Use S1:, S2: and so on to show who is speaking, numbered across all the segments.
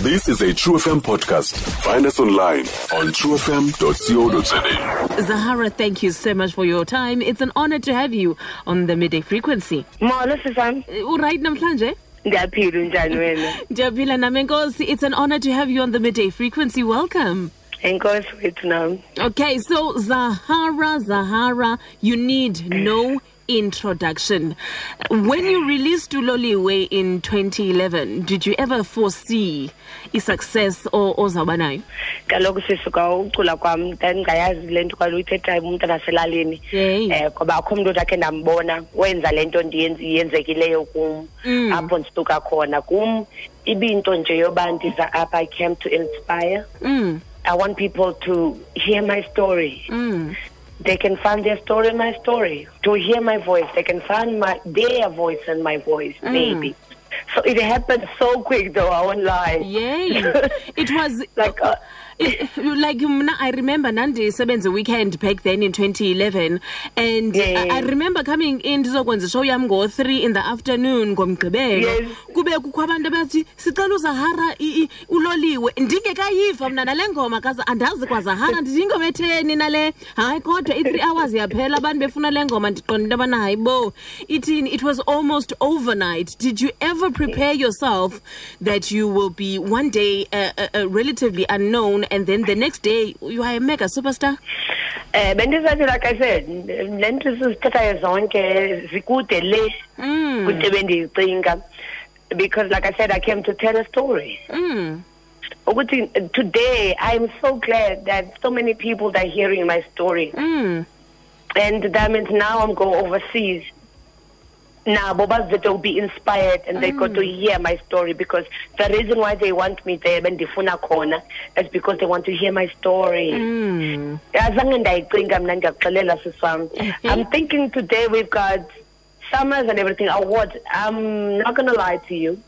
S1: This is a True FM podcast. Find us online on truefm.co.za.
S2: Zahara, thank you so much for your time. It's an honor to have you on the midday frequency. Uh,
S3: molo sisami
S2: Right namhlanje?
S3: ndiyaphila unjani wena
S2: Jabila Namengosi, it's an honor to have you on the midday frequency. Welcome.
S3: enkosi wethu nam
S2: Okay, so Zahara, Zahara, you need no introduction. When you released Uloliwe in 2011, did you ever foresee a success or ozabanayo?
S3: kaloku sisuka ucula kwam ndandingayazi le nto kwaluyithethayo umntana aselalini
S2: Yey.
S3: um ngoba akho mntu ndakhe ndambona wenza le nto ndiyenzi- yenzekileyo kum
S2: Mm.
S3: apho ndisuka khona kum ibinto nje yoba ndiza apha i came to inspire
S2: Mm,
S3: i want people to hear my story
S2: mm.
S3: they can find their story in my story. To hear my voice, they can find my their voice and my voice,
S2: Mm.
S3: maybe. So it happened so quick, though. I won't lie.
S2: Yay. It was
S3: like uh,
S2: I- like mna i remember nandisebenze weekend back then in 2011 and
S3: Yeah.
S2: I, i remember coming in ndizokwenza ishow yam ngo-three in the afternoon ngomgqibelo
S3: Yes.
S2: kube kukho abantu abathi sicela uzahara i- i- uloliwe ndingekayiva mna nale ngoma kaza andazi kwazahara ndithi ingoma etheni nale hayi kodwa i-three hours yaphela abantu befuna le ngoma ndiqonda into yobana hayi bo ithini it was almost overnight did you ever prepare yourself that you will be one day uh, uh, uh, relatively unknown and then the next day you are a mega superstar
S3: eh bendizathi like i said le nto sizithethayo zonke zikude le kude bendiyicinga because like i said i came to tell a story ukuthi uh, today i'm so glad that so many people are hearing my story and that means now i'm going overseas nabo bazithe will be inspired and they got to hear my story because the reason why they want me there bendifuna khona is because they want to hear my story azange ndayicinga mna ndiyakuxelela siswam i'm thinking today we've got summers and everything awards i'm not gonna lie to you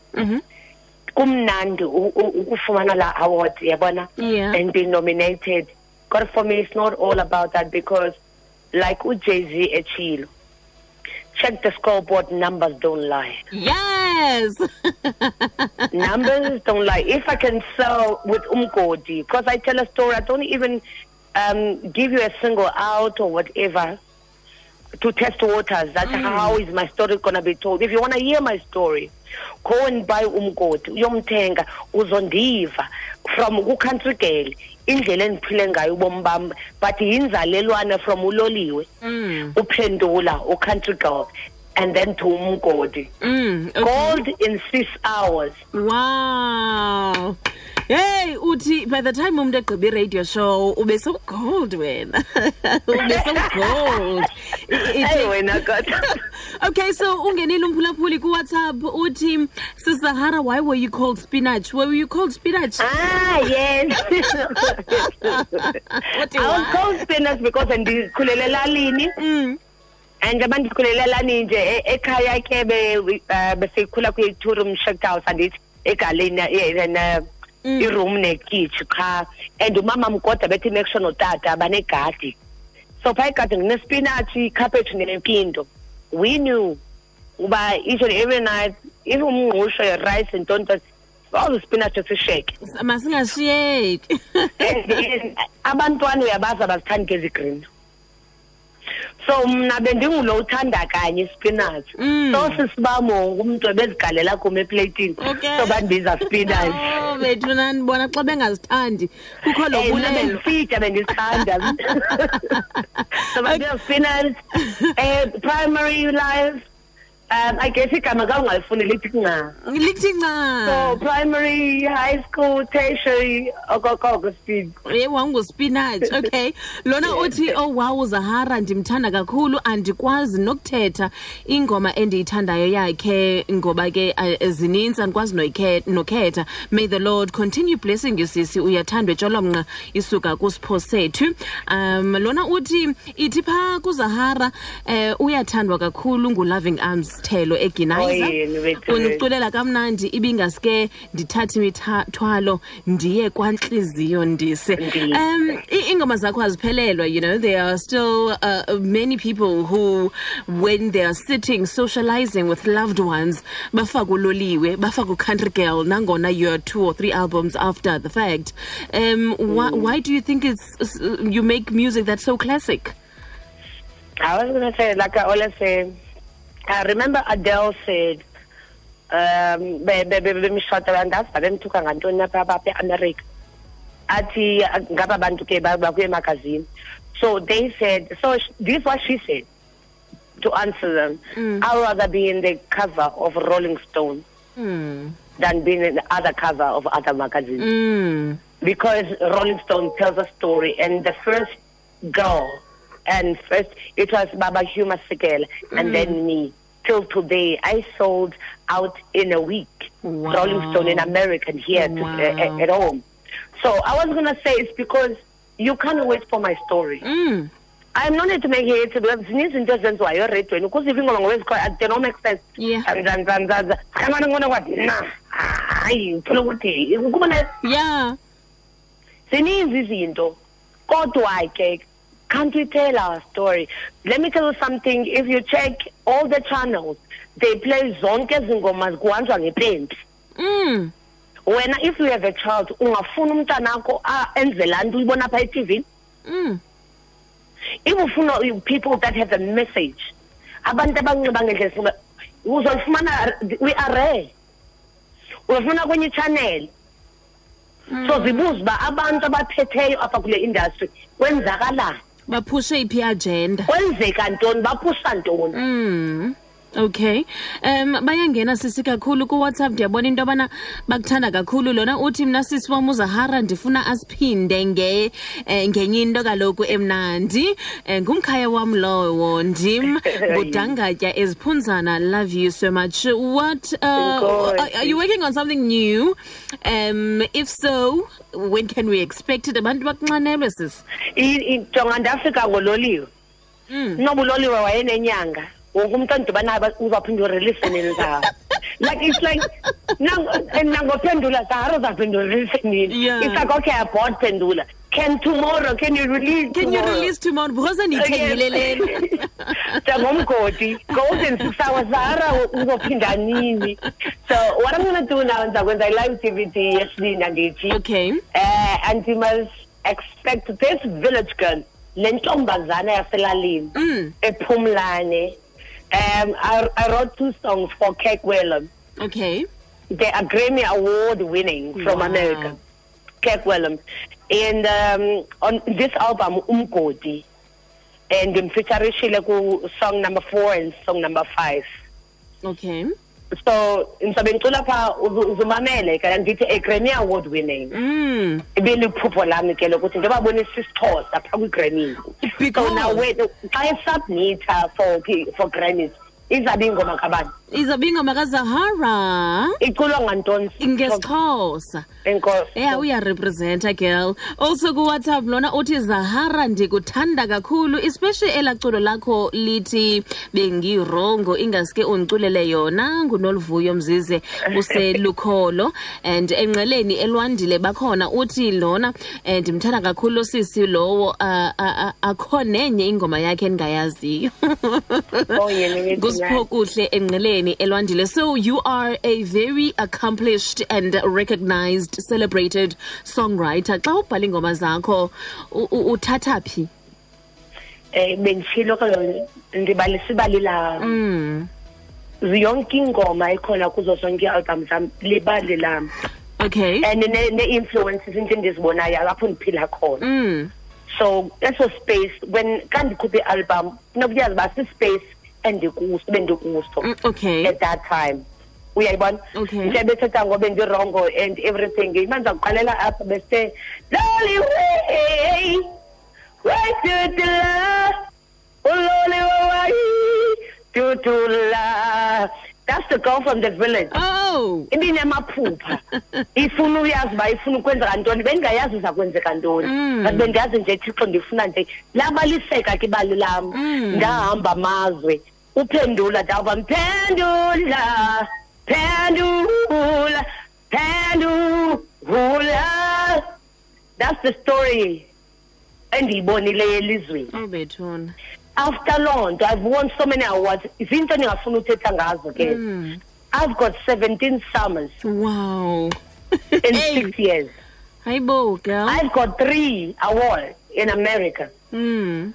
S3: kumnandi u- u- ukufumana la award yabona
S2: Yeah.
S3: and being nominated but for me it's not all about that because like ujay-z echilo check the scoreboard numbers don't lie
S2: yes
S3: numbers don't lie. If I can sell with Umgodi, because I tell a story, I don't even um, give you a single out or whatever to test waters. That's
S2: Mm.
S3: how is my story gonna be told. If you wanna hear my story, go and buy Umgodi, uyomthenga, uzondiva from country girl. indlela endiphile ngayo ubomi bam but yinzalelwana from uloliwe
S2: Mm.
S3: uphendula ucountry girl and then to umgodi
S2: mm. okay.
S3: gold in six hours
S2: Wow. Hey, uthi by the time umuntu egqiba i-radio show ube so gold wena. ube so gold. I- ithi-
S3: Hey wena kodwa
S2: okay, so ungenile umphulaphuli kuWhatsApp uthi Sisahara why were you called spinach? Why were you called spinach?
S3: Ah yes.
S2: Uthi
S3: I was
S2: why?
S3: called spinach because ndikhulele elalini
S2: Mm.
S3: and abantu ndikhulele elalini nje e- ekhaya ke be- uh, besikhula kwi-two room shack house andithi egaleni eh, eh, na- iroom nekitshi qha and umama mgoda bethi make sure notata banegadi so phaa igadi ndinespinatshi ikhaphetshu nempindo we knew uba each and every night if umngqusho rice and tonto all spinach sisheke
S2: S- Masingashiyeki.
S3: And- and abantwana uyabazi abazithandi ke green so mna bendingulo uthanda kanye ispinatshi
S2: Mm.
S3: so sisibamo umntu ebezigalela kum epleyitini
S2: Okay.
S3: so bandibiza spinatshi
S2: Oh, bethu nanibona xa bengazithandi kukho lo
S3: mna
S2: bulelo.
S3: bendifitya Eh, bendisithanda so bandibiza spinatshi um primary life um i guess igama kawungalifuni lithi kunga
S2: Lithi nca.
S3: so primary high school tertiary okokoko speed
S2: Eh wanguspinach okay lona uthi oh wow Zahara ndimthanda kakhulu andikwazi nokuthetha ingoma endiyithandayo yakhe ngoba ke eh, zinintsi andikwazi noyikhe- nokhetha may the lord continue blessing you sisi uyathandwa etshwalomnqa isuka kusipho sethu um lona uthi ithi phaa kuzahara eh uyathandwa kakhulu nguloving arms thelo
S3: Oyeni,
S2: eginayiza
S3: wethu.
S2: undiculela kamnandi ibingaske ndithathe imithwalo ndiye kwantliziyo ndise
S3: Ndise.
S2: um i- iingoma zakho aziphelelwa you know there are still uh, many people who when they are sitting socializing with loved ones bafaka uloliwe bafaka country girl nangona you're two or three albums after the fact um why, why do you think it's s- you make music that's so classic
S3: I was going to say, like I always say, I remember Adele said, um, be- be- be- bemshada abantu asibabemthuka ngantoni lapha babe-america athi uh, ngaba bantu ke ba- bakuye magazini so they said so sh- this is what she said to answer them i'd rather be in the cover of rolling stone than being in the other cover of other magazines because Rolling Stone tells a story, and the first girl, and first it was Baba Huma Sigel, and then me. Till today, I sold out in a week.
S2: Wow.
S3: Rolling Stone in America and here to,
S2: Wow.
S3: uh, at home. So I was gonna say it's because you can't wait for my story.
S2: Mm.
S3: I'm not here to make hits because zininzi into ezenziwayo eredweni ukuze ive ingoma ngowezikhoyo they don't make sense
S2: Yeah.
S3: mzanzanzaza kangana ngona kwathi na hayi uphela ukuthi kuba na-
S2: yeah
S3: zininzi izinto kodwa ke can't we tell our story let me tell you something if you check all the channels they play zonke izingoma kuhanjwa ngepenti
S2: mm.
S3: wena if you have a child ungafuna umntanakho a- enze laa nto uyibona apha etivini
S2: Mm.
S3: if ufuna you- people that have a message abantu abanxiba ngendlela esifuna uzolifumana we are rare uyofuna kwenye ichannel so zibuze uba abantu abaphetheyo apha kule industry kwenzakalani
S2: baphushe iphi agenda
S3: kwenzeka ntoni bapusha ntoni
S2: Mm. Okay. Um bayangena sisi kakhulu ku WhatsApp ndiyabona into yobana bakuthanda kakhulu lona uthi mna sisi wam uZahara ndifuna asiphinde nge eh, ngenye into kaloku emnandi Eh, ngumkhaya wam lowo ndim ngudangatya eziphunzana love you so much what uh,
S3: Enkosi.
S2: are, are you working on something new um if so when can we expect it abantu bakunxanelwe sisi
S3: I- i- jonga ndafika ngololiwe
S2: Mm.
S3: noba uloliwe wayenenyanga wonke umntu andibanayo ba- uzawuphinda urelise nini zawo like it's like nango- and nangophendula zaharo uzawuphinda urelise nini
S2: Yeah.
S3: it's like okay abot phendula can tomorrow can you release
S2: can you
S3: tomorrow?
S2: release tomorrow because ndiyithengile lena
S3: njengomgodi gold and six hours zahara uzophinda nini so what i'm gonna do now ndizakwenza i-live tv d yesibini andithi
S2: Okay.
S3: uh, and you must expect this village girl le ntombazana yaselalini ephumlane um I, i wrote two songs for cake wellum
S2: Okay.
S3: they are grammy award winning from
S2: Wow.
S3: america cake wellum and um, on this album umgodi and ndimfeaturishile ku-song number four and song number five
S2: Okay.
S3: so ndizabe ndicula phaa uzu- uzumamele kana ndithi a grammy award winning
S2: Mm.
S3: Eh ibeliphupho lami ke lokuthi ndibabonise isixhosa phaa kwigrammies
S2: Because-
S3: so now wethu xa esubmitha for P- for grammies izabe ingoma kabani
S2: Izabe ingoma kaZahara
S3: iculwa ngantoni
S2: ngesiXhosa.
S3: enkosi
S2: Yeah, uyarepresenta girl. Also kuWhatsApp lona uthi Zahara ndikuthanda kakhulu especially elaculo lakho lithi bengirongo ingaske undiculele yona ngunoluvuyo mzize uselukholo and engceleni elwandile bakhona uthi lona eh, ndimthanda kakhulu sisi lowo ah, ah, ah, akho nenye ingoma yakhe endingayaziyo.
S3: Oh, yena yethu
S2: Gusipho
S3: nayo.
S2: kuhle enqeleni elwandile so you are a very accomplished and recognized celebrated songwriter xa ubhala iingoma zakho u- u- uthatha phi
S3: um benditshilo kalo ndibalisa ibali lam yonke ingoma ekhona kuzo zonke ii-album zam libali lam
S2: okay
S3: and ne- nee-influences into endizibonayo apho ndiphila khona
S2: Mm.
S3: so eso space when xa ndikhuphe i-album kunokuyazi uba sispace endikuso bendikuso
S2: Mm, okay
S3: at that time uyayibona
S2: Okay.
S3: nje bethetha ngoba ndirongo and everything imanje akuqalela apha bese loli way way to the love uloli way to to love that's the girl from the village
S2: oh
S3: ibinemaphupha ifuna uyazi uba ifuna ukwenzeka ntoni bendingayazi uza kwenzeka ntoni but bendiyazi nje thixo ndifuna nje labaliseka ke ibali lam ndahamba amazwe uphendula ndawuba mphendula phendula phendula that's the story endiyibonileyo elizweni
S2: owu bethuna
S3: after loo nto i've won so many awards ziinto endingafuni uthetha ngazo ke i've got seventeen summers
S2: wow
S3: in
S2: Hey,
S3: six years
S2: hayi bo girl
S3: i've got three awards in america
S2: mm.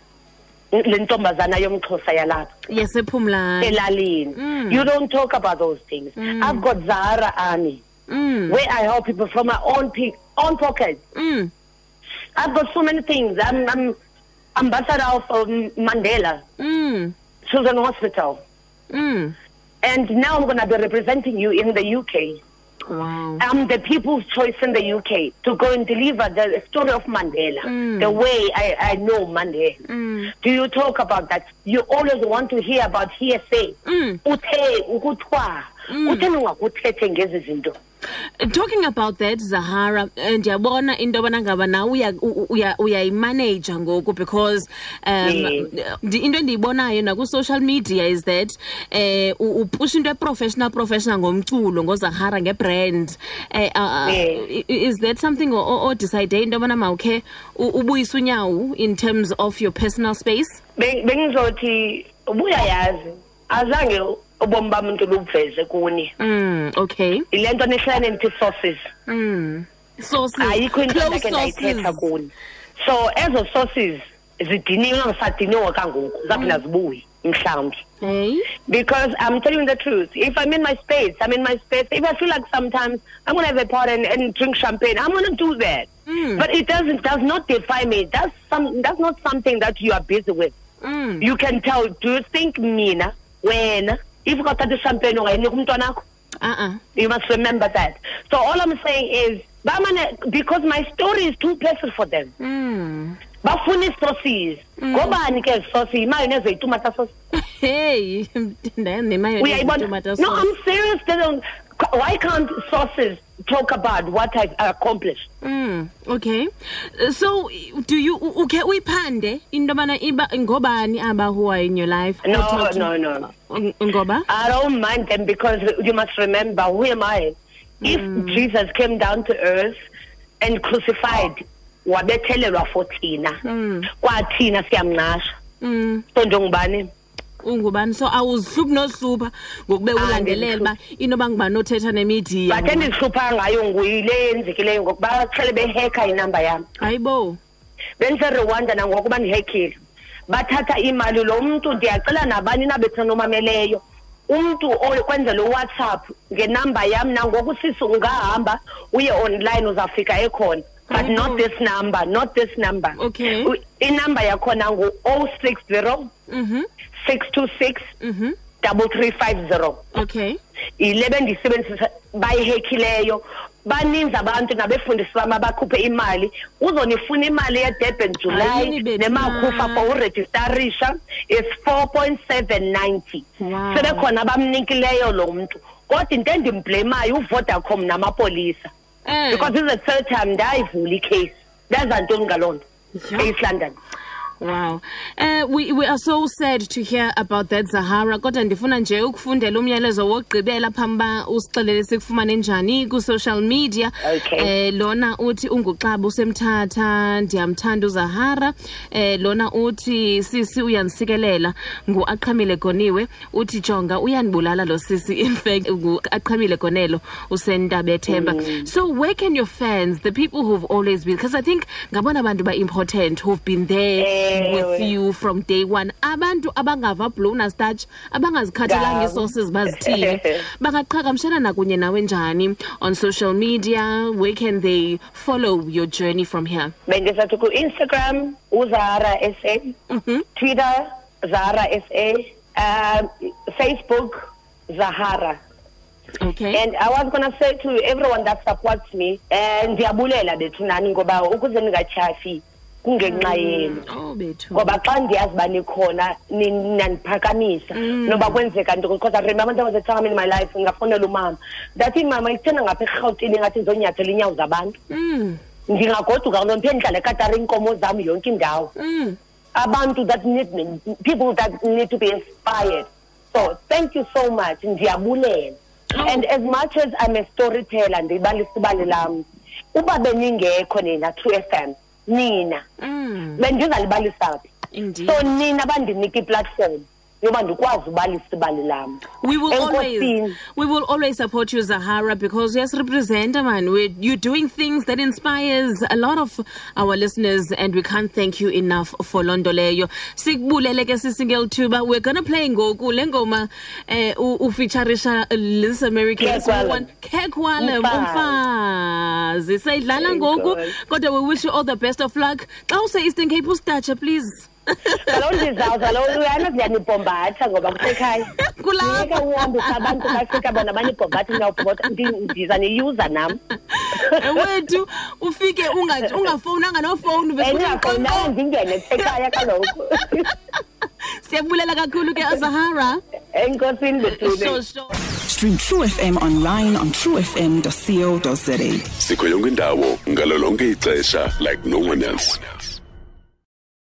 S3: le ntombazana yomxhosa yalapha
S2: yasephumlayo
S3: elalini
S2: Mm.
S3: you don't talk about those things i've got zahara army
S2: mm.
S3: where i help people from my own pe- own pocket
S2: mm.
S3: i've got so many things i'm, I'm ambassador of um, mandela
S2: mm.
S3: children hospital
S2: mm.
S3: and now i'm going to be representing you in the uk
S2: wow
S3: I'm the people's choice in the UK to go and deliver the story of Mandela,
S2: Mm.
S3: the way I, I know Mandela. Do you talk about that? You always want to hear about hearsay.
S2: Mm.
S3: Uthe ukuthwa. Utheni ungakuthethe ngezi zinto?
S2: talking about that zahara eh, ndiyabona into yobana ngaba nawe uya- u- uya- uyayimaneja ngoku because um
S3: Yes.
S2: ndi- into endiyibonayo nakwi-social media is that um upusha into eprofessional professional ngomculo ngozahara ngebrand
S3: Yes.
S2: um is that something o- o- odicide into yobana mawukhe u- ubuyise unyawo in terms of your personal space
S3: Be- Bengizothi ubuyayazi azange ubomi bam mntu lubuveze kuni.
S2: mm, okay
S3: Ile nto nihlala nithi sources.
S2: sources
S3: Ayikho into
S2: Mm. close
S3: endakhe ndayithetha
S2: sources
S3: kuni. So ezo sources zidiniwe angisadiniwe kangoku. Zaphinda
S2: Mm.
S3: zibuye mhlawumbi.
S2: hey
S3: Because I'm telling you the truth. If I'm in my space, I'm in my space. If I feel like sometimes I'm gonna have a pot and, and drink champagne, I'm gonna do that.
S2: Mm.
S3: But it doesn't does not define me. That's some that's not something that you are busy with.
S2: Mm.
S3: You can tell. Do you think mina when if you got the champagne ungayinika umntwanakho?
S2: uh-uh
S3: You must remember that. So all I'm saying is bamane- because my story is too personal for them.
S2: mm.
S3: Bafuna i-sources. Ngobani ke sources? Imali nezoyitumata sources.
S2: Hey, ndayinemayo
S3: uyayibona no i'm serious they don't, why can't sources talk about what i've accomplished
S2: Mm, okay. Uh, So do you u- ukhe uyiphande into yobana iba ngobani aba who are in your life?
S3: no
S2: Uthathe-
S3: no no
S2: Ng- Ngoba?
S3: i don't mind them because you must remember who am i if
S2: Mm.
S3: jesus came down to earth and crucified wabethelelwa for thina kwathina siyamnqasha
S2: Mm,
S3: so njengubani
S2: ungubani so awuzihluphi nozihlupha
S3: Ah,
S2: ngokube ulandelela uba into yoba ngubani othetha nemidiya
S3: but endizihlupha ngayo nguyile yenzekileyo ngokuba bahlele behekha inamba yam
S2: hayibo
S3: bendiserwanda nangokuba ndihekile bathatha imali lo mntu ndiyacela nabani nabethina nomameleyo umntu okwenza lo whatsapp ngenamba yam nangoku sisi ungahamba uye online uzawufika ekhona but
S2: Mhm.
S3: not this number not this number
S2: Okay.
S3: U- inamba yakhona ngu-o six zero
S2: mhm
S3: six two six
S2: mhm
S3: double three five zero
S2: okay
S3: yile bendiyisebenzisa bayihekhileyo baninzi abantu nabefundisi bam abakhuphe imali uzonifuna imali yedurban
S2: Hayini
S3: julayi
S2: bethu
S3: nemakhufa
S2: na.
S3: for urejistarisha is four point seven ninety
S2: Wow.
S3: sebekhona abamnikileyo lo mntu kodwa into endimbhlemayo uvodacom namapolisa
S2: Eh,
S3: because is the third time ndayivula ikheyisi ndaza ntoni ngaloo nto
S2: Yeah.
S3: east london
S2: wow uh, we, we are so sad to hear about that zahara kodwa ndifuna nje ukufundela umyalezo wokugqibela phambi uba usixelele sikufumane njani kwi-social media
S3: Okay.
S2: Eh, lona uthi unguxaba usemthatha ndiyamthanda uzahara eh, lona uthi sisi uyandisikelela nguaqhamile goniwe uthi jonga uyandibulala lo sisi infact nguaqhamile gonelo usentabethemba so where can your fans the people who've always been because i think ngabona bantu ba-important who've been there with
S3: Ewe.
S2: you from day one abantu abangava blowna starch abangazikhathalanga
S3: Ngabo.
S2: ii-sources bazithile bangaqhagamshela nakunye nawe njani on social media where can they follow your journey from here
S3: bendisathi ku-instagram uzahara s a twitter zahara s a um, facebook zahara
S2: okay
S3: and i was gonna say to everyone that supports me um ndiyabulela bethu nani ngoba ukuze ndingatyhafi kungenxa yenu
S2: oh bethu
S3: ngoba xa ndiyazi uba nikhona ni- naniphakamisa
S2: Mm.
S3: noba kwenzeka nto because i remember there was a time in my life ndingafowunela umama ndathi mama ithena ngapha erhawutini ingathi ndizonyathela iinyawo zabantu
S2: mm,
S3: ndingagoduka kalo ndiphinde ndihlale ekatara iinkomo zam yonke indawo
S2: mm.
S3: abantu that need me, people that need to be inspired. So thank you so much. Ndiyabulela.
S2: Oh.
S3: And as much as I'm a storyteller, ndibalisa ibali lam. Uba beningekho nina True FM, nina
S2: Mm,
S3: bendingalibalisa phi
S2: indeed.
S3: so nina bandinika iplatform yoba ndikwazi ubalisa ibali lam
S2: we will always
S3: Enkosini.
S2: we will always support you zahara because yes represent man We're, you're doing things that inspires a lot of our listeners and we can't thank you enough for loo nto leyo sikubulele ke sisingeli tuba we're gonna play ngoku le ngoma eh, u- ufeaturisha lis american
S3: Kekwalem.
S2: kekwalem umfazi
S3: Umfazi.
S2: sayidlala
S3: Thank
S2: ngoku
S3: God.
S2: kodwa we wish you all the best of luck xa use-eastern cape usidatshe please
S3: kaloku ndizawuza lo uyana ndiyanibhombatha ngoba kusekhaya
S2: kulapha
S3: yeka uhambisa abantu bafika bona banibhombatha ndiyawubhombotha Ndi- ndiza niyuza nam
S2: wethu ufike unga- ungafowunanga nofowuni
S3: andingafowunanga
S2: besiyaqonqo
S3: ndingene kusekhaya kaloku
S2: siyabulela kakhulu ke azahara
S3: enkosini bethu
S2: Sure, sure.
S4: Stream True FM online on truefm.co.za.
S1: sikho yonke indawo ngalo lonke ixesha like no one else